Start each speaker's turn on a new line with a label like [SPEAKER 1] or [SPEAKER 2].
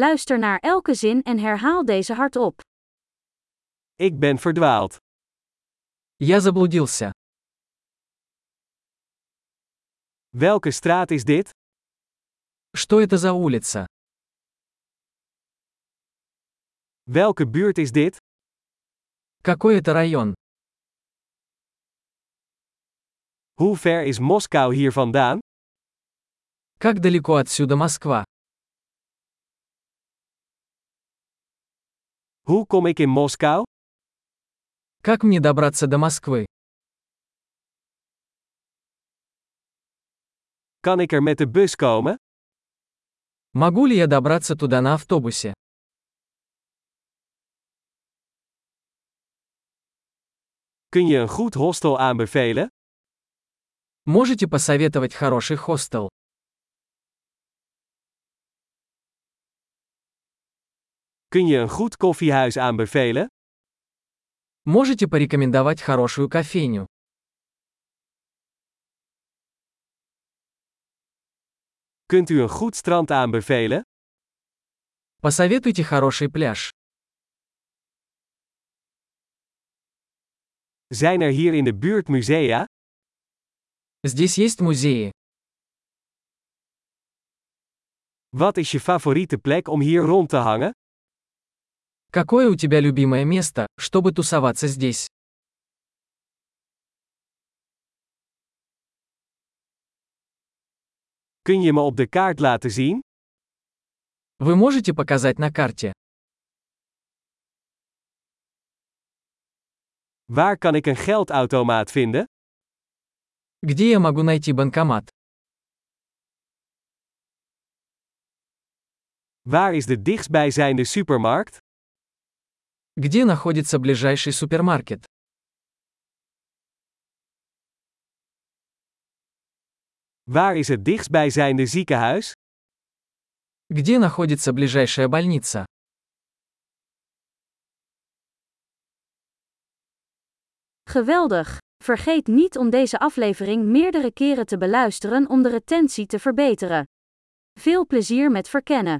[SPEAKER 1] Luister naar elke zin en herhaal deze hardop.
[SPEAKER 2] Ik ben verdwaald.
[SPEAKER 3] Я заблудился.
[SPEAKER 2] Welke straat is dit?
[SPEAKER 3] Что это за улица?
[SPEAKER 2] Welke buurt is dit?
[SPEAKER 3] Какой это район?
[SPEAKER 2] Hoe ver is Moskou hier vandaan?
[SPEAKER 3] Как далеко отсюда Москва?
[SPEAKER 2] Hoe kom ik in Moskou?
[SPEAKER 3] Как мне добраться до Москвы?
[SPEAKER 2] Kan ik er met de bus komen?
[SPEAKER 3] Могу ли я добраться туда на автобусе?
[SPEAKER 2] Kun je een goed hostel aanbevelen?
[SPEAKER 3] Можете посоветовать хороший хостел?
[SPEAKER 2] Kun je een goed koffiehuis aanbevelen?
[SPEAKER 3] Можете порекомендовать хорошую кофейню?
[SPEAKER 2] Kunt u een goed strand aanbevelen?
[SPEAKER 3] Посоветуйте хороший пляж.
[SPEAKER 2] Zijn er hier in de buurt musea?
[SPEAKER 3] Здесь есть музеи.
[SPEAKER 2] Wat is je favoriete plek om hier rond te hangen?
[SPEAKER 3] Какое у тебя любимое место, чтобы тусоваться здесь?
[SPEAKER 2] Kun je me op de kaart laten zien?
[SPEAKER 3] Вы можете показать на карте?
[SPEAKER 2] Waar kan ik een geldautomaat vinden?
[SPEAKER 3] Где я могу найти банкомат?
[SPEAKER 2] Waar is de dichtstbijzijnde supermarkt?
[SPEAKER 3] Где находится ближайший супермаркет?
[SPEAKER 2] Waar is het dichtstbijzijnde ziekenhuis?
[SPEAKER 3] Где находится ближайшая больница?
[SPEAKER 1] Geweldig! Vergeet niet om deze aflevering meerdere keren te beluisteren om de retentie te verbeteren. Veel plezier met verkennen!